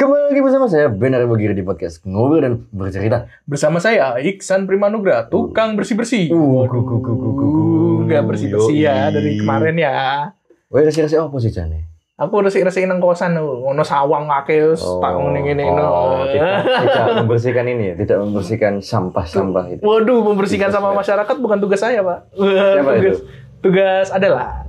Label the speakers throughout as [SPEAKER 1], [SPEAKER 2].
[SPEAKER 1] bersama saya Ben Aribagiri di podcast Ngobrol dan Bercerita.
[SPEAKER 2] Bersama saya Iksan Primanugra, tukang bersih-bersih.
[SPEAKER 1] Uh, gu- gu- gu- gu- gu- gu.
[SPEAKER 2] Enggak bersih-bersih ya
[SPEAKER 1] Yoi.
[SPEAKER 2] dari kemarin ya.
[SPEAKER 1] Wah, resi-resi apa sih Jane?
[SPEAKER 2] Aku resik-resik nang kosan tuh, ngono sawang kake wis tak Eh? ngene ngene
[SPEAKER 1] oh, tidak, tidak membersihkan ini ya, tidak membersihkan sampah-sampah itu.
[SPEAKER 2] Waduh, membersihkan
[SPEAKER 1] Tugas saya.
[SPEAKER 2] sama masyarakat bukan tugas saya, Pak.
[SPEAKER 1] Siapa itu?
[SPEAKER 2] tugas tugas adalah.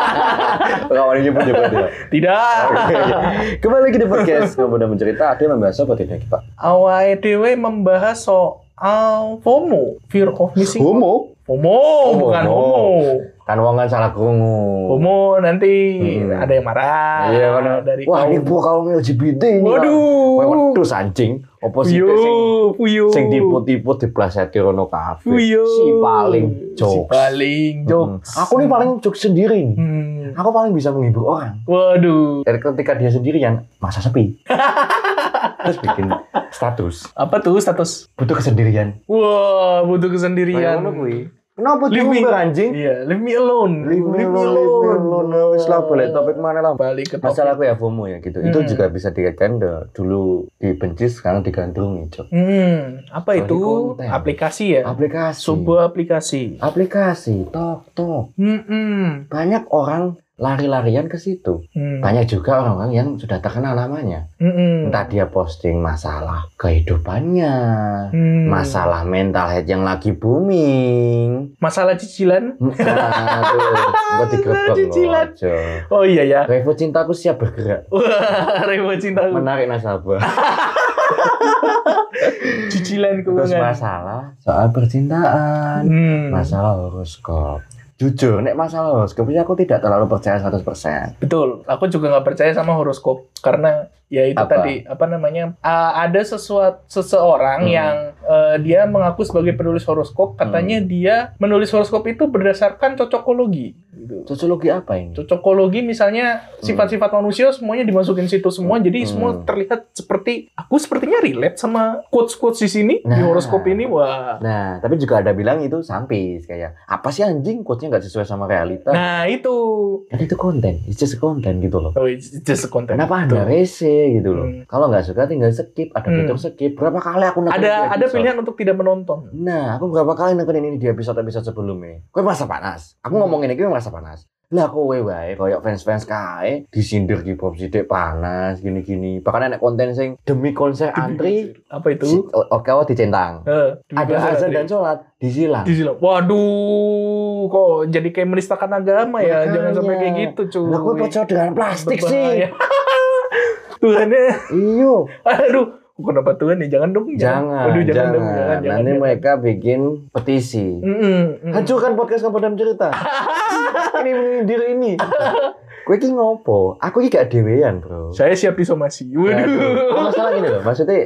[SPEAKER 1] Kawan Eh? nyebut nyebut ya.
[SPEAKER 2] Tidak.
[SPEAKER 1] Kembali lagi di podcast Ngobrol dan Bercerita, ada yang membahas apa tidak Pak?
[SPEAKER 2] Awal dewe membahas soal FOMO, fear of missing. out.
[SPEAKER 1] Homo?
[SPEAKER 2] FOMO,
[SPEAKER 1] Oh,
[SPEAKER 2] bukan
[SPEAKER 1] no.
[SPEAKER 2] homo.
[SPEAKER 1] Kan wongan salah krungu.
[SPEAKER 2] Homo nanti
[SPEAKER 1] Hmm.
[SPEAKER 2] ada yang marah.
[SPEAKER 1] Iya kan.
[SPEAKER 2] dari
[SPEAKER 1] Wah,
[SPEAKER 2] kaum-
[SPEAKER 1] ini gua kaum LGBT ini. Pak.
[SPEAKER 2] Waduh.
[SPEAKER 1] Wah, Waduh, anjing. Oposisi
[SPEAKER 2] Puyo,
[SPEAKER 1] sing
[SPEAKER 2] puyo.
[SPEAKER 1] sing tipu-tipu dipleset rono kafe.
[SPEAKER 2] Puyo.
[SPEAKER 1] Si paling jokes.
[SPEAKER 2] Si paling jokes.
[SPEAKER 1] Mm-mm. Aku nih paling jokes sendiri nih.
[SPEAKER 2] Hmm.
[SPEAKER 1] Aku paling bisa menghibur orang.
[SPEAKER 2] Waduh.
[SPEAKER 1] Dan ketika dia sendirian, masa sepi. Terus bikin status.
[SPEAKER 2] Apa tuh status?
[SPEAKER 1] Butuh kesendirian.
[SPEAKER 2] Wah, butuh
[SPEAKER 1] Kayak
[SPEAKER 2] kesendirian.
[SPEAKER 1] ngono kuwi. Kenapa
[SPEAKER 2] Leave me-
[SPEAKER 1] diumbar anjing?
[SPEAKER 2] Iya, leave me alone.
[SPEAKER 1] Leave me alone, leave me alone. Wis lah, balik topik mana lah.
[SPEAKER 2] Balik ke topik.
[SPEAKER 1] Masalah aku ya FOMO ya gitu. Itu
[SPEAKER 2] Hmm.
[SPEAKER 1] juga bisa dikaitkan de- dulu dibenci sekarang digandrungi, Cok.
[SPEAKER 2] Hmm, apa
[SPEAKER 1] Balik
[SPEAKER 2] itu?
[SPEAKER 1] konten.
[SPEAKER 2] Aplikasi ya?
[SPEAKER 1] Aplikasi.
[SPEAKER 2] Sebuah aplikasi.
[SPEAKER 1] Aplikasi tok tok.
[SPEAKER 2] Hmm,
[SPEAKER 1] Banyak orang lari-larian ke situ.
[SPEAKER 2] hmm.
[SPEAKER 1] Banyak juga orang-orang yang sudah terkenal namanya.
[SPEAKER 2] Hmm.
[SPEAKER 1] Entah dia posting masalah kehidupannya,
[SPEAKER 2] Hmm.
[SPEAKER 1] masalah mental health yang lagi booming.
[SPEAKER 2] Masalah cicilan?
[SPEAKER 1] Aduh, gua digrebek loh.
[SPEAKER 2] Cicilan.
[SPEAKER 1] Ajo.
[SPEAKER 2] Oh iya ya.
[SPEAKER 1] Revo cintaku siap bergerak,
[SPEAKER 2] Wah, Rewo cintaku.
[SPEAKER 1] menarik nasabah.
[SPEAKER 2] Cicilan
[SPEAKER 1] Terus
[SPEAKER 2] keuangan.
[SPEAKER 1] masalah soal percintaan,
[SPEAKER 2] Hmm.
[SPEAKER 1] masalah horoskop. Jujur, nek masalah horoskop ini aku tidak terlalu percaya 100%.
[SPEAKER 2] Betul, aku juga nggak percaya sama horoskop karena ya itu
[SPEAKER 1] Apa?
[SPEAKER 2] tadi apa namanya uh, ada sesuatu seseorang
[SPEAKER 1] Hmm.
[SPEAKER 2] yang uh, dia mengaku sebagai penulis horoskop katanya dia menulis horoskop itu berdasarkan cocokologi. Gitu.
[SPEAKER 1] Sosiologi apa ini?
[SPEAKER 2] Cocokologi misalnya sifat-sifat manusia semuanya dimasukin situ semua jadi
[SPEAKER 1] Hmm.
[SPEAKER 2] semua terlihat seperti aku sepertinya relate sama quotes-quotes di sini di
[SPEAKER 1] Nah.
[SPEAKER 2] horoskop ini wah.
[SPEAKER 1] Nah, tapi juga ada bilang itu sampis kayak apa sih anjing quotes-nya nggak sesuai sama realita?
[SPEAKER 2] Nah, itu
[SPEAKER 1] Kan itu konten, it's just konten gitu loh.
[SPEAKER 2] oh, it's just a content.
[SPEAKER 1] Kenapa anda
[SPEAKER 2] Betul.
[SPEAKER 1] rese gitu loh?
[SPEAKER 2] Gitu. Hmm.
[SPEAKER 1] Kalau nggak suka tinggal skip, ada
[SPEAKER 2] Hmm.
[SPEAKER 1] fitur skip. Berapa kali aku nekenin di
[SPEAKER 2] Ada ada
[SPEAKER 1] episode?
[SPEAKER 2] pilihan untuk tidak menonton.
[SPEAKER 1] Nah, aku berapa kali nekenin ini di episode-episode sebelumnya. Gue merasa panas. Aku ngomongin ini gue merasa panas. Lah kowe wae koyok fans-fans kae disindir di pop sidik panas gini-gini. Bahkan enek konten sing demi konser antri
[SPEAKER 2] Apa itu?
[SPEAKER 1] si- o- oke wae dicentang.
[SPEAKER 2] Eh,
[SPEAKER 1] Ada azan dan sholat disilang.
[SPEAKER 2] di silang. Waduh, kok jadi kayak menistakan agama ya?
[SPEAKER 1] Makanya.
[SPEAKER 2] Jangan sampai kayak gitu, cuy.
[SPEAKER 1] Lah kowe percaya dengan plastik sih.
[SPEAKER 2] Berbahaya. Tuhannya,
[SPEAKER 1] Iyo.
[SPEAKER 2] aduh, kenapa Tuhan nih? Jangan dong,
[SPEAKER 1] Jangan,
[SPEAKER 2] Iya. Waduh, jangan,
[SPEAKER 1] jangan.
[SPEAKER 2] dong, jangan, jangan.
[SPEAKER 1] Nanti ya.
[SPEAKER 2] jangan.
[SPEAKER 1] mereka bikin petisi.
[SPEAKER 2] Mm-mm, mm.
[SPEAKER 1] Hancurkan podcast kamu dalam cerita. ini menyindir ini. Kue ki ngopo? Aku ki gak dewean, Bro.
[SPEAKER 2] Saya siap disomasi.
[SPEAKER 1] Aduh.
[SPEAKER 2] Waduh.
[SPEAKER 1] Masalah gini loh, maksudnya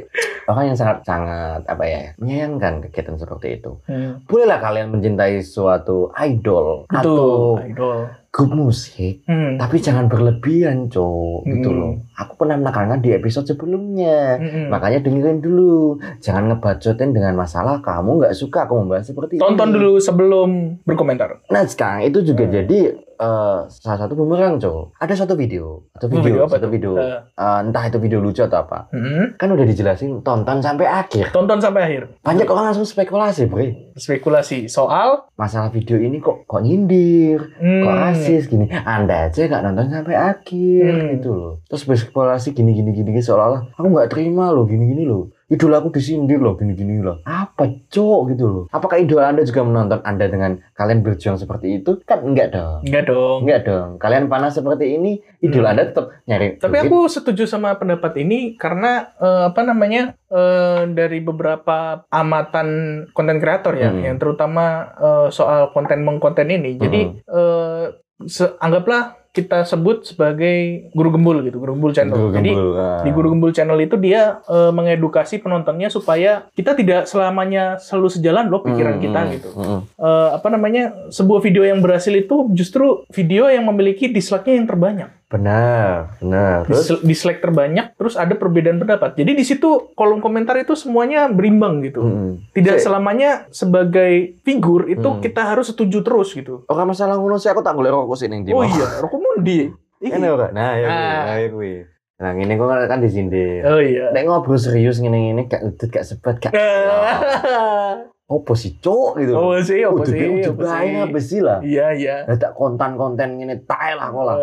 [SPEAKER 1] orang yang sangat sangat apa ya menyayangkan kegiatan seperti itu.
[SPEAKER 2] Hmm,
[SPEAKER 1] Bolehlah kalian mencintai suatu idol atau
[SPEAKER 2] Betul, idol.
[SPEAKER 1] grup musik,
[SPEAKER 2] Hmm,
[SPEAKER 1] tapi jangan berlebihan, Cok. Gitu
[SPEAKER 2] Hmm.
[SPEAKER 1] loh. Aku pernah menekankan di episode sebelumnya.
[SPEAKER 2] mm-mm.
[SPEAKER 1] Makanya dengerin dulu, jangan ngebacotin dengan masalah kamu nggak suka aku membahas seperti
[SPEAKER 2] Tonton
[SPEAKER 1] ini.
[SPEAKER 2] dulu sebelum berkomentar.
[SPEAKER 1] Nah sekarang itu juga
[SPEAKER 2] Hmm.
[SPEAKER 1] jadi eh, salah satu bumerang cowok. Ada satu video, satu video,
[SPEAKER 2] Video apa
[SPEAKER 1] satu
[SPEAKER 2] tuh?
[SPEAKER 1] video.
[SPEAKER 2] Eh,
[SPEAKER 1] Eh, entah itu video lucu atau apa.
[SPEAKER 2] mm-mm.
[SPEAKER 1] Kan udah dijelasin tonton sampai akhir.
[SPEAKER 2] Tonton sampai akhir.
[SPEAKER 1] Banyak orang langsung spekulasi, Bre.
[SPEAKER 2] Spekulasi soal
[SPEAKER 1] Masalah video ini kok kok nyindir,
[SPEAKER 2] hmm,
[SPEAKER 1] kok rasis gini. Anda aja nggak nonton sampai akhir
[SPEAKER 2] Hmm.
[SPEAKER 1] gitu loh. Terus berspekulasi gini gini gini gini, seolah-olah aku nggak terima loh gini gini loh. Idol aku disindir loh gini gini loh. Apa cok gitu loh. Apakah idola Anda juga menonton Anda dengan kalian berjuang seperti itu? Kan enggak dong.
[SPEAKER 2] Enggak dong.
[SPEAKER 1] Enggak dong. Kalian panas seperti ini, idol
[SPEAKER 2] Hmm.
[SPEAKER 1] Anda tetap nyari.
[SPEAKER 2] Tapi
[SPEAKER 1] duit.
[SPEAKER 2] aku setuju sama pendapat ini karena eh, apa namanya eh, dari beberapa amatan konten kreator ya,
[SPEAKER 1] Hmm.
[SPEAKER 2] yang terutama eh, soal konten mengkonten ini. Jadi
[SPEAKER 1] Hmm.
[SPEAKER 2] eh, se- anggaplah kita sebut sebagai guru gembul gitu, guru gembul channel.
[SPEAKER 1] Gembul,
[SPEAKER 2] Jadi
[SPEAKER 1] gembul, ah.
[SPEAKER 2] di Guru Gembul Channel itu dia eh, mengedukasi penontonnya supaya kita tidak selamanya selalu sejalan loh pikiran
[SPEAKER 1] Hmm,
[SPEAKER 2] kita
[SPEAKER 1] hmm,
[SPEAKER 2] gitu.
[SPEAKER 1] hmm.
[SPEAKER 2] Eh, apa namanya sebuah video yang berhasil itu justru video yang memiliki dislike-nya yang terbanyak.
[SPEAKER 1] Benar, benar. Terus
[SPEAKER 2] Dis- dislike terbanyak, terus ada perbedaan pendapat. Jadi di situ kolom komentar itu semuanya berimbang gitu.
[SPEAKER 1] Mm-mm.
[SPEAKER 2] Tidak
[SPEAKER 1] Sik.
[SPEAKER 2] selamanya sebagai figur itu
[SPEAKER 1] Hmm.
[SPEAKER 2] kita harus setuju terus gitu.
[SPEAKER 1] Orang masalah ngono sih aku tak golek rokok sini di
[SPEAKER 2] Oh
[SPEAKER 1] bawah.
[SPEAKER 2] iya, rokok mundi. Iki.
[SPEAKER 1] Ini ora. Nah, ya kuwi,
[SPEAKER 2] Ah.
[SPEAKER 1] nah, ya kuwi. Nah, ngene kok kan, kan disindir.
[SPEAKER 2] Oh iya.
[SPEAKER 1] Nek ngobrol serius ngene-ngene gak udut gak sebet gak. Opo sih, Cuk gitu.
[SPEAKER 2] Oh sih, apa
[SPEAKER 1] Udut-
[SPEAKER 2] sih?
[SPEAKER 1] Udut
[SPEAKER 2] apa
[SPEAKER 1] bae
[SPEAKER 2] sih?
[SPEAKER 1] apa sih lah.
[SPEAKER 2] Iya, iya.
[SPEAKER 1] Lah tak konten-konten ngene tae lah kok lah.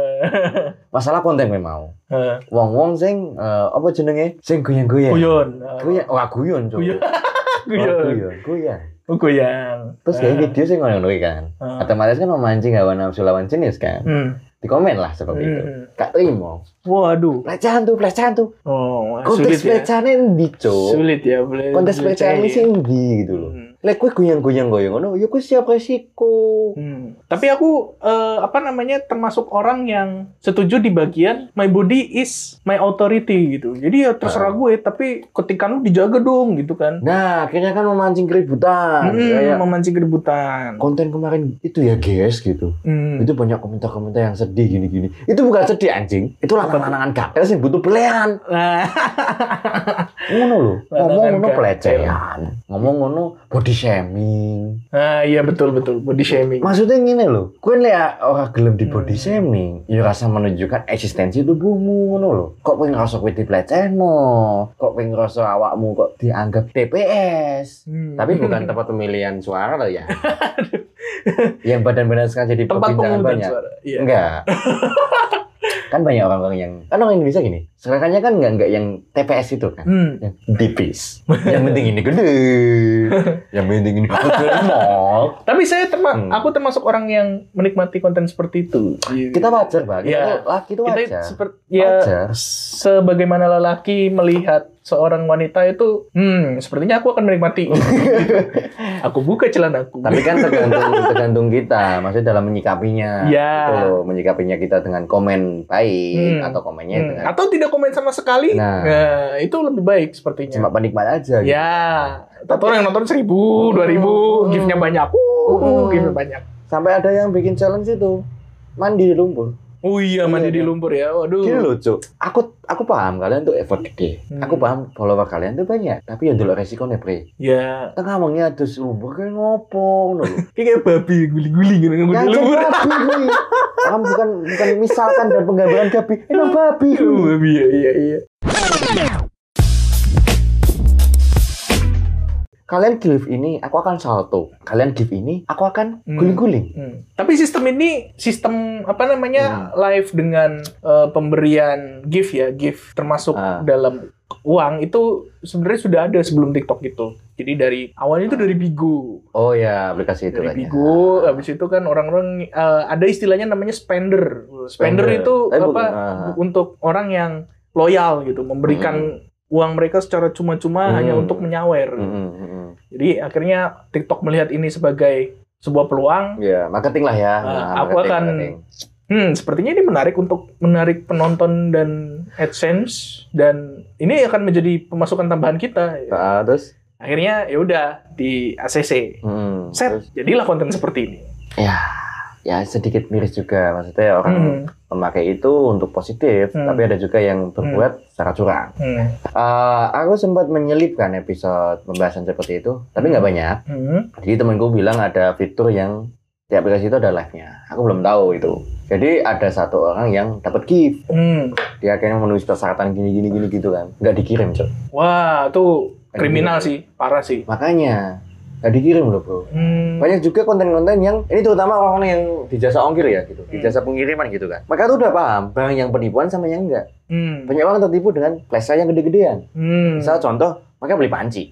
[SPEAKER 1] Masalah konten gue mau.
[SPEAKER 2] Eh,
[SPEAKER 1] Wong-wong sing eh, apa jenenge? Sing goyang-goyang.
[SPEAKER 2] Guyon.
[SPEAKER 1] Goyang, wah guyon, Cuk.
[SPEAKER 2] Guyon.
[SPEAKER 1] Oh,
[SPEAKER 2] Guyon.
[SPEAKER 1] guyon, goyang.
[SPEAKER 2] Oh, Guyon.
[SPEAKER 1] Terus kayak gitu. video sih ngono kan.
[SPEAKER 2] Eh, eh.
[SPEAKER 1] Otomatis kan memancing hawa nafsu lawan jenis kan.
[SPEAKER 2] Hmm.
[SPEAKER 1] Dikomen lah seperti itu.
[SPEAKER 2] Hmm.
[SPEAKER 1] Gak terima.
[SPEAKER 2] Waduh.
[SPEAKER 1] Pelecehan tuh, pelecehan tuh.
[SPEAKER 2] Oh,
[SPEAKER 1] Kontes
[SPEAKER 2] sulit ya.
[SPEAKER 1] pelecehannya endi, Cuk?
[SPEAKER 2] Sulit ya. boleh-
[SPEAKER 1] Kontes
[SPEAKER 2] boleh
[SPEAKER 1] pelecehannya
[SPEAKER 2] percaya.
[SPEAKER 1] sih endi gitu loh.
[SPEAKER 2] Hmm.
[SPEAKER 1] Lek kue goyang-goyang goyang ngono, ya kue siap resiko.
[SPEAKER 2] Hmm. Tapi aku eh, apa namanya termasuk orang yang setuju di bagian my body is my authority gitu. Jadi ya
[SPEAKER 1] Ah.
[SPEAKER 2] terserah gue, tapi ketika lu dijaga dong gitu kan.
[SPEAKER 1] Nah, akhirnya kan memancing keributan.
[SPEAKER 2] Hmm,
[SPEAKER 1] Kayak
[SPEAKER 2] memancing keributan.
[SPEAKER 1] konten kemarin itu ya guys gitu.
[SPEAKER 2] Hmm.
[SPEAKER 1] Itu banyak komentar-komentar yang sedih gini-gini. Itu bukan sedih anjing. Itu lanangan gatel sih butuh pelean.
[SPEAKER 2] Nah,
[SPEAKER 1] Ngono loh. Ngomong
[SPEAKER 2] Lanangan
[SPEAKER 1] ngono
[SPEAKER 2] gatel.
[SPEAKER 1] pelecehan. Ngomong ngono body shaming.
[SPEAKER 2] nah,
[SPEAKER 1] Ah,
[SPEAKER 2] iya betul betul body shaming.
[SPEAKER 1] Maksudnya gini loh, kue lihat orang gelem di body
[SPEAKER 2] Hmm.
[SPEAKER 1] shaming, ya rasa menunjukkan eksistensi tubuhmu ngono loh. Kok pengen ngerasa kue dipelecehno, kok pengen ngerasa awakmu kok dianggap TPS.
[SPEAKER 2] Hmm.
[SPEAKER 1] Tapi bukan tempat pemilihan suara loh ya. yang badan-badan sekarang jadi
[SPEAKER 2] tempat
[SPEAKER 1] perbincangan
[SPEAKER 2] pengumuman
[SPEAKER 1] banyak. Hmm.
[SPEAKER 2] suara. Iya.
[SPEAKER 1] Enggak. kan banyak orang-orang yang, kan orang Indonesia gini, sekarangnya kan enggak enggak yang TPS itu kan.
[SPEAKER 2] Hmm.
[SPEAKER 1] Yang tipis. yang penting ini gede. yang penting ini gede. Mok.
[SPEAKER 2] Tapi saya terma
[SPEAKER 1] Hmm.
[SPEAKER 2] aku termasuk orang yang menikmati konten seperti itu. Iya.
[SPEAKER 1] kita wajar banget
[SPEAKER 2] Iya.
[SPEAKER 1] kita laki itu
[SPEAKER 2] kita
[SPEAKER 1] wajar
[SPEAKER 2] seperti ya
[SPEAKER 1] wajar
[SPEAKER 2] sebagaimana lelaki melihat seorang wanita itu, hmm, sepertinya aku akan menikmati. aku buka celanaku.
[SPEAKER 1] tapi kan tergantung tergantung kita maksudnya dalam menyikapinya
[SPEAKER 2] Iya.
[SPEAKER 1] Gitu loh, menyikapinya kita dengan komen baik
[SPEAKER 2] Hmm.
[SPEAKER 1] atau komennya
[SPEAKER 2] Hmm,
[SPEAKER 1] dengan
[SPEAKER 2] Atau tidak komen sama sekali,
[SPEAKER 1] Nah.
[SPEAKER 2] nah, itu lebih baik sepertinya.
[SPEAKER 1] cuma penikmat aja gitu.
[SPEAKER 2] Ya, atau yang nonton seribu, dua ribu,
[SPEAKER 1] Hmm.
[SPEAKER 2] gift-nya banyak,
[SPEAKER 1] Hmm.
[SPEAKER 2] uh, gift-nya banyak.
[SPEAKER 1] sampai ada yang bikin challenge itu mandi di lumpur
[SPEAKER 2] Oh iya, mandi
[SPEAKER 1] Iya,
[SPEAKER 2] di
[SPEAKER 1] iya.
[SPEAKER 2] lumpur ya, waduh.
[SPEAKER 1] gini loh Cuk. aku aku paham kalian tuh effort gede
[SPEAKER 2] Hmm.
[SPEAKER 1] aku paham follower kalian tuh banyak tapi yang dulu resikonya pre
[SPEAKER 2] Ya,
[SPEAKER 1] tengah mangnya terus lumpur kayak ngopo ngono lho.
[SPEAKER 2] kayak kayak babi guling-guling gitu ngomong
[SPEAKER 1] Ya
[SPEAKER 2] di
[SPEAKER 1] anjing
[SPEAKER 2] lumpur.
[SPEAKER 1] babi kuy. Kamu bukan bukan misalkan dan penggambaran babi.
[SPEAKER 2] Iya.
[SPEAKER 1] Emang babi kuy.
[SPEAKER 2] Aduh, babi ya, iya iya.
[SPEAKER 1] Kalian give ini, aku akan salto. Kalian give ini, aku akan
[SPEAKER 2] Hmm.
[SPEAKER 1] guling-guling.
[SPEAKER 2] Hmm. Tapi sistem ini sistem apa
[SPEAKER 1] Hmm.
[SPEAKER 2] namanya live dengan eh, pemberian gift ya gift termasuk
[SPEAKER 1] Ah.
[SPEAKER 2] dalam uang itu sebenarnya sudah ada sebelum TikTok gitu. Jadi dari awalnya itu dari Bigo,
[SPEAKER 1] Oh ya, aplikasi itu kan.
[SPEAKER 2] dari
[SPEAKER 1] ya.
[SPEAKER 2] Bigo. Habis itu kan orang-orang eh, ada istilahnya namanya spender. Spender,
[SPEAKER 1] Spender.
[SPEAKER 2] itu
[SPEAKER 1] Tapi bukan,
[SPEAKER 2] apa
[SPEAKER 1] ah.
[SPEAKER 2] untuk orang yang loyal gitu memberikan uang mereka secara cuma-cuma
[SPEAKER 1] Hmm.
[SPEAKER 2] hanya untuk menyawer.
[SPEAKER 1] Mm, mm, mm.
[SPEAKER 2] Jadi akhirnya TikTok melihat ini sebagai sebuah peluang
[SPEAKER 1] Ya, marketing lah ya.
[SPEAKER 2] Ah,
[SPEAKER 1] Nah,
[SPEAKER 2] aku akan- Hmm, sepertinya ini menarik untuk menarik penonton dan AdSense dan ini akan menjadi pemasukan tambahan kita.
[SPEAKER 1] Ah, terus,
[SPEAKER 2] Akhirnya ya udah di ACC.
[SPEAKER 1] mm,
[SPEAKER 2] Set,
[SPEAKER 1] terus,
[SPEAKER 2] jadilah konten seperti ini.
[SPEAKER 1] ya, ya sedikit miris juga. Maksudnya orang
[SPEAKER 2] Hmm,
[SPEAKER 1] memakai itu untuk positif,
[SPEAKER 2] Hmm.
[SPEAKER 1] tapi ada juga yang berbuat secara curang.
[SPEAKER 2] hmm,
[SPEAKER 1] Ah, aku sempat menyelipkan episode pembahasan seperti itu, tapi nggak
[SPEAKER 2] Hmm.
[SPEAKER 1] banyak.
[SPEAKER 2] hmm.
[SPEAKER 1] Jadi temanku bilang ada fitur yang di aplikasi itu ada live-nya. Aku belum tahu itu. Jadi ada satu orang yang dapat gift.
[SPEAKER 2] hmm.
[SPEAKER 1] Dia akhirnya menulis persyaratan gini gini gini gitu kan. Nggak dikirim, Cok.
[SPEAKER 2] Wah, tuh kriminal sih, parah sih.
[SPEAKER 1] Makanya nggak dikirim loh, Bro.
[SPEAKER 2] Hmm,
[SPEAKER 1] Banyak juga konten-konten yang ini terutama orang-orang yang di jasa ongkir ya gitu, di
[SPEAKER 2] Hmm.
[SPEAKER 1] jasa pengiriman gitu kan. Mereka tuh udah paham barang yang penipuan sama yang enggak.
[SPEAKER 2] hmm,
[SPEAKER 1] Banyak orang tertipu dengan flash sale yang gede-gedean.
[SPEAKER 2] hmm.
[SPEAKER 1] Misal contoh, mereka beli panci.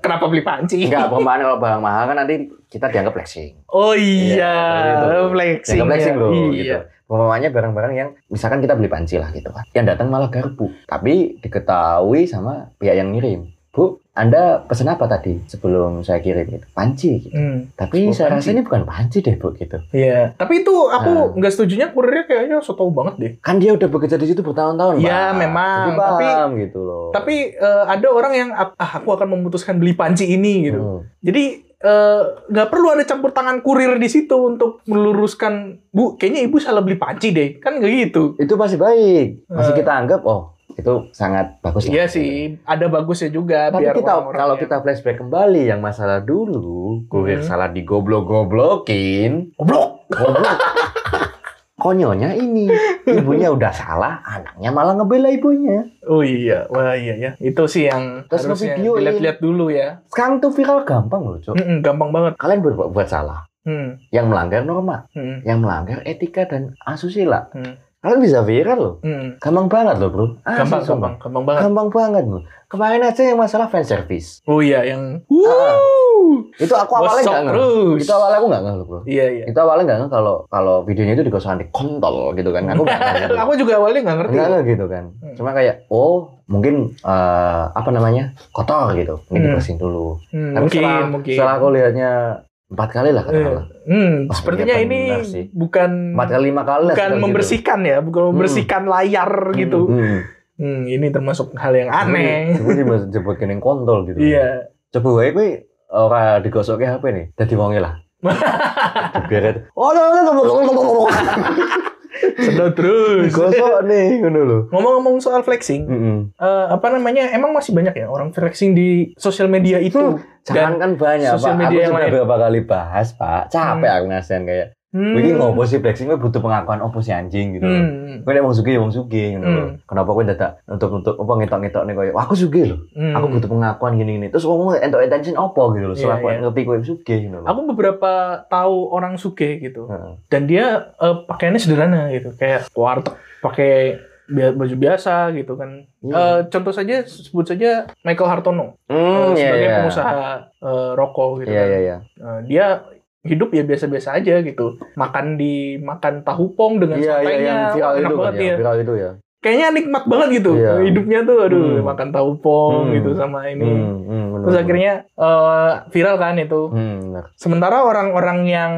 [SPEAKER 2] Kenapa beli panci?
[SPEAKER 1] Enggak, perumpamaan kalau barang mahal kan nanti kita dianggap flexing.
[SPEAKER 2] Oh
[SPEAKER 1] Iya,
[SPEAKER 2] iya,
[SPEAKER 1] seperti itu.
[SPEAKER 2] flexing.
[SPEAKER 1] Dianggap flexing
[SPEAKER 2] ya.
[SPEAKER 1] loh gitu.
[SPEAKER 2] Iya.
[SPEAKER 1] Umpamanya barang-barang yang misalkan kita beli panci lah gitu kan. Yang datang malah garpu. Tapi diketahui sama pihak yang ngirim. Bu, Anda pesen apa tadi sebelum saya kirim gitu? Panci gitu.
[SPEAKER 2] Hmm.
[SPEAKER 1] Tapi
[SPEAKER 2] Oh,
[SPEAKER 1] saya rasa
[SPEAKER 2] panci.
[SPEAKER 1] ini bukan panci deh, Bu gitu.
[SPEAKER 2] Iya, tapi itu
[SPEAKER 1] Ah.
[SPEAKER 2] aku nggak setujunya kurirnya kayaknya so tau banget deh.
[SPEAKER 1] Kan dia udah bekerja di situ bertahun-tahun,
[SPEAKER 2] Ya,
[SPEAKER 1] Pak.
[SPEAKER 2] memang.
[SPEAKER 1] Jadi paham gitu loh.
[SPEAKER 2] Tapi eh, ada orang yang ah aku akan memutuskan beli panci ini gitu.
[SPEAKER 1] Hmm.
[SPEAKER 2] Jadi eh, nggak perlu ada campur tangan kurir di situ untuk meluruskan bu kayaknya ibu salah beli panci deh kan nggak gitu.
[SPEAKER 1] itu masih baik. Masih
[SPEAKER 2] Eh.
[SPEAKER 1] kita anggap oh, itu sangat bagus lah. gitu.
[SPEAKER 2] Iya sih ada bagusnya juga
[SPEAKER 1] Tapi
[SPEAKER 2] biar
[SPEAKER 1] kita
[SPEAKER 2] orang-orang
[SPEAKER 1] kalau
[SPEAKER 2] yang-
[SPEAKER 1] kita flashback kembali yang masalah dulu, kurir
[SPEAKER 2] Hmm.
[SPEAKER 1] salah digoblok-goblokin,
[SPEAKER 2] goblok
[SPEAKER 1] Goblok. konyolnya ini ibunya udah salah anaknya malah ngebela ibunya
[SPEAKER 2] Oh iya, wah iya ya. Itu sih yang
[SPEAKER 1] Terus
[SPEAKER 2] harusnya
[SPEAKER 1] ngevideoin.
[SPEAKER 2] dilihat-lihat dulu ya.
[SPEAKER 1] sekarang tuh viral gampang loh cok
[SPEAKER 2] Mm-mm, gampang banget.
[SPEAKER 1] kalian berbuat buat salah
[SPEAKER 2] Hmm,
[SPEAKER 1] yang melanggar norma
[SPEAKER 2] hmm,
[SPEAKER 1] yang melanggar etika dan asusila
[SPEAKER 2] Hmm.
[SPEAKER 1] kalian bisa viral loh
[SPEAKER 2] hmm.
[SPEAKER 1] gampang banget loh bro Asli, sumpah.
[SPEAKER 2] Gampang, gampang, gampang banget.
[SPEAKER 1] gampang banget loh kemarin aja yang masalah fan service
[SPEAKER 2] Oh iya, yang
[SPEAKER 1] Ah.
[SPEAKER 2] Wuh,
[SPEAKER 1] itu aku awalnya
[SPEAKER 2] gosok
[SPEAKER 1] nggak ngeh
[SPEAKER 2] terus.
[SPEAKER 1] itu awalnya aku nggak ngeh loh bro
[SPEAKER 2] Iya iya.
[SPEAKER 1] itu awalnya nggak ngeh kalau kalau videonya itu digosokkan di kontol gitu kan aku nggak ngeh gitu.
[SPEAKER 2] Aku juga awalnya nggak ngerti.
[SPEAKER 1] Enggak enggak gitu kan.
[SPEAKER 2] Hmm.
[SPEAKER 1] Cuma kayak oh mungkin eh, apa namanya kotor gitu. Ini
[SPEAKER 2] Hmm.
[SPEAKER 1] dibersihin dulu.
[SPEAKER 2] Hmm,
[SPEAKER 1] Tapi
[SPEAKER 2] mungkin
[SPEAKER 1] setelah,
[SPEAKER 2] mungkin.
[SPEAKER 1] setelah aku lihatnya empat kali lah katakanlah.
[SPEAKER 2] Hmm,
[SPEAKER 1] Oh,
[SPEAKER 2] sepertinya
[SPEAKER 1] iya,
[SPEAKER 2] ini
[SPEAKER 1] benar sih.
[SPEAKER 2] bukan
[SPEAKER 1] Empat kali lima kali lah.
[SPEAKER 2] bukan
[SPEAKER 1] sekitar
[SPEAKER 2] membersihkan ya, bukan membersihkan layar
[SPEAKER 1] gitu.
[SPEAKER 2] gitu.
[SPEAKER 1] Hmm.
[SPEAKER 2] Hmm, ini termasuk hal yang aneh.
[SPEAKER 1] Coba coba jebut gini kontol gitu.
[SPEAKER 2] Iya.
[SPEAKER 1] Coba wae kuwi ora digosokke HP nih. Dadi wonge lah. Diberet. Oh, no, no, no, no, no, no, no.
[SPEAKER 2] Sedot terus.
[SPEAKER 1] Digosok nih ngono lho.
[SPEAKER 2] Ngomong-ngomong soal flexing,
[SPEAKER 1] Mm-mm.
[SPEAKER 2] eh, apa namanya? Emang masih banyak ya orang flexing di sosial media itu.
[SPEAKER 1] Jangan kan banyak, Pak.
[SPEAKER 2] sosial
[SPEAKER 1] Aku
[SPEAKER 2] media yang
[SPEAKER 1] sudah
[SPEAKER 2] lain.
[SPEAKER 1] beberapa kali bahas, Pak. Capek
[SPEAKER 2] Hmm.
[SPEAKER 1] aku ngasihin kayak
[SPEAKER 2] Hmm.
[SPEAKER 1] Gue ini ngopo sih flexing, gue butuh pengakuan opo sih anjing gitu. loh.
[SPEAKER 2] Hmm.
[SPEAKER 1] Gue nek wong sugih ya wong sugih gitu loh.
[SPEAKER 2] Hmm.
[SPEAKER 1] Kenapa gue dadak nutup-nutup apa ngetok-ngetok nih koyo aku sugih loh.
[SPEAKER 2] Hmm.
[SPEAKER 1] Aku butuh pengakuan gini-gini. Terus wong entok attention opo gitu loh.
[SPEAKER 2] Iya,
[SPEAKER 1] Setelah gue
[SPEAKER 2] iya.
[SPEAKER 1] ngerti gue sugih gitu loh.
[SPEAKER 2] Aku beberapa tahu orang suge gitu.
[SPEAKER 1] Heeh.
[SPEAKER 2] dan dia eh, pakaiannya sederhana gitu kayak warteg pakai bia- baju biasa gitu kan
[SPEAKER 1] Iya.
[SPEAKER 2] Eh, contoh saja sebut saja Michael Hartono eh,
[SPEAKER 1] Hmm, iya
[SPEAKER 2] sebagai
[SPEAKER 1] iya.
[SPEAKER 2] pengusaha eh, rokok gitu
[SPEAKER 1] Iya
[SPEAKER 2] kan.
[SPEAKER 1] iya iya.
[SPEAKER 2] Eh, dia hidup ya biasa-biasa aja gitu makan di makan tahu pong dengan
[SPEAKER 1] Iya iya
[SPEAKER 2] santainya
[SPEAKER 1] yang viral
[SPEAKER 2] Wah, enak
[SPEAKER 1] itu kan
[SPEAKER 2] banget
[SPEAKER 1] ya.
[SPEAKER 2] ya
[SPEAKER 1] Viral itu ya.
[SPEAKER 2] kayaknya nikmat banget gitu
[SPEAKER 1] Iya.
[SPEAKER 2] hidupnya tuh aduh
[SPEAKER 1] Hmm.
[SPEAKER 2] makan tahu pong
[SPEAKER 1] Hmm.
[SPEAKER 2] gitu sama ini
[SPEAKER 1] Hmm, hmm, bener,
[SPEAKER 2] terus
[SPEAKER 1] bener.
[SPEAKER 2] akhirnya eh, viral kan itu
[SPEAKER 1] Hmm, bener.
[SPEAKER 2] Sementara orang-orang yang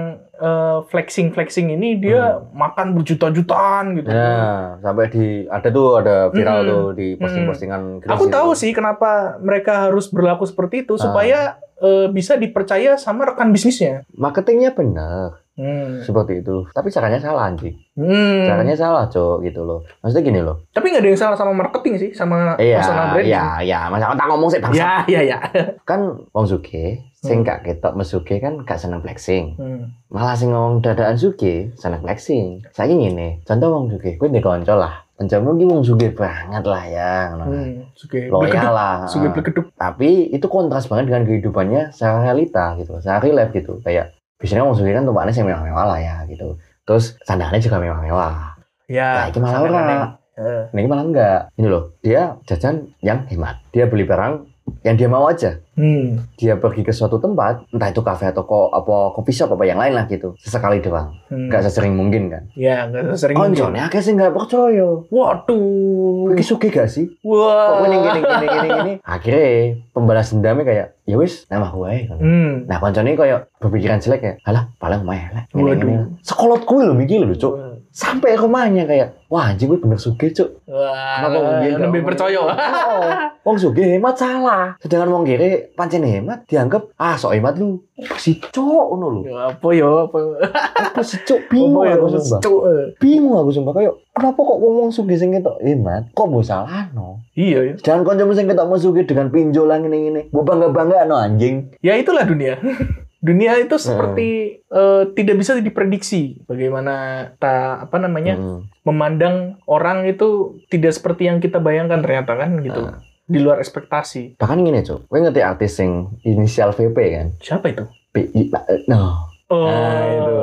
[SPEAKER 2] flexing flexing ini dia
[SPEAKER 1] Hmm.
[SPEAKER 2] makan berjuta-jutaan gitu.
[SPEAKER 1] Nah, sampai di ada tuh ada viral
[SPEAKER 2] Hmm.
[SPEAKER 1] tuh di posting-postingan
[SPEAKER 2] Aku
[SPEAKER 1] Gresik
[SPEAKER 2] tahu
[SPEAKER 1] itu.
[SPEAKER 2] sih kenapa mereka harus berlaku seperti
[SPEAKER 1] Ah.
[SPEAKER 2] itu supaya eh, bisa dipercaya sama rekan bisnisnya.
[SPEAKER 1] Marketingnya benar
[SPEAKER 2] Hmm.
[SPEAKER 1] seperti itu, tapi caranya salah anjing.
[SPEAKER 2] Hmm.
[SPEAKER 1] Caranya salah, Cok, gitu loh. Maksudnya gini loh.
[SPEAKER 2] Tapi nggak ada yang salah sama marketing sih, sama
[SPEAKER 1] Iya,
[SPEAKER 2] personal
[SPEAKER 1] iya,
[SPEAKER 2] branding.
[SPEAKER 1] iya. Masa otak ngomong sih bangsa.
[SPEAKER 2] Ya, ya, ya.
[SPEAKER 1] Kan wong sugih, sing
[SPEAKER 2] Hmm.
[SPEAKER 1] gak ketok mesuge kan gak seneng flexing.
[SPEAKER 2] Hmm.
[SPEAKER 1] Malah sing ngomong dadaan sugih seneng flexing. Saiki ngene, contoh wong sugih, kuwi ndek kanca lah. Kancamu ki wong sugih banget lah ya, ngono.
[SPEAKER 2] Hmm. Suge
[SPEAKER 1] Loyal
[SPEAKER 2] blekeduk,
[SPEAKER 1] lah.
[SPEAKER 2] suge
[SPEAKER 1] heeh.
[SPEAKER 2] blekeduk.
[SPEAKER 1] Tapi itu kontras banget dengan kehidupannya secara realita gitu, secara real life gitu. Kayak biasanya wong sugih kan tempatnya sing mewah-mewah lah ya gitu. Terus sandaannya juga mewah-mewah. Nah,
[SPEAKER 2] Ya.
[SPEAKER 1] iki malah
[SPEAKER 2] sangat
[SPEAKER 1] ora.
[SPEAKER 2] aneh. Eh,
[SPEAKER 1] Nah, ini malah enggak. Ini loh, dia jajan yang hemat. Dia beli barang yang dia mau aja.
[SPEAKER 2] Hmm.
[SPEAKER 1] Dia pergi ke suatu tempat, entah itu kafe atau ko, apa kopi shop apa yang lain lah gitu. Sesekali doang.
[SPEAKER 2] Hmm.
[SPEAKER 1] Enggak sesering mungkin kan.
[SPEAKER 2] Ya, nggak sering. Hmm.
[SPEAKER 1] Koncone akeh sih enggak percaya.
[SPEAKER 2] Waduh.
[SPEAKER 1] Iki sugih gak sih? Kok
[SPEAKER 2] Wah.
[SPEAKER 1] gini gini gini gini gini. Akhirnya pembalas dendamnya kayak, ya wis, nama gue.
[SPEAKER 2] Hmm.
[SPEAKER 1] Nah, koncone kayak berpikiran jelek ya. Alah, paling omae lah.
[SPEAKER 2] Waduh. Hmm.
[SPEAKER 1] Sekolot gue loh mikir loh, Cuk. Sampai rumahnya kayak, wah anjing gue bener sugih, Cuk.
[SPEAKER 2] Wah,
[SPEAKER 1] Kenapa wong biyen gak
[SPEAKER 2] Eh, lebih
[SPEAKER 1] ngomong?
[SPEAKER 2] percaya.
[SPEAKER 1] Oh, wong sugih hemat salah. Sedangkan wong kiri pancen hemat dianggap ah sok hemat lu. Apa sih cok ngono lho.
[SPEAKER 2] Ya, apa ya? Apa
[SPEAKER 1] Apa sih cok
[SPEAKER 2] apa
[SPEAKER 1] bingung
[SPEAKER 2] ya?
[SPEAKER 1] aku
[SPEAKER 2] Mas
[SPEAKER 1] sumpah.
[SPEAKER 2] Cuk? Eh,
[SPEAKER 1] Bingung aku sumpah kayak kenapa kok wong wong sugih sing ketok hemat kok mbok salahno.
[SPEAKER 2] Iya ya.
[SPEAKER 1] Jangan kancamu sing ketok mau sugih dengan pinjolan ngene-ngene. Mbok bangga-banggano anjing.
[SPEAKER 2] Ya itulah dunia. dunia itu
[SPEAKER 1] Hmm.
[SPEAKER 2] seperti eh, tidak bisa diprediksi bagaimana ta apa namanya
[SPEAKER 1] Mm.
[SPEAKER 2] memandang orang itu tidak seperti yang kita bayangkan ternyata kan gitu
[SPEAKER 1] Eh.
[SPEAKER 2] di luar ekspektasi
[SPEAKER 1] Bahkan ngene cok, kowe ngerti artis sing inisial VP kan?
[SPEAKER 2] siapa itu
[SPEAKER 1] PI nah, eh, no.
[SPEAKER 2] oh
[SPEAKER 1] Nah, itu.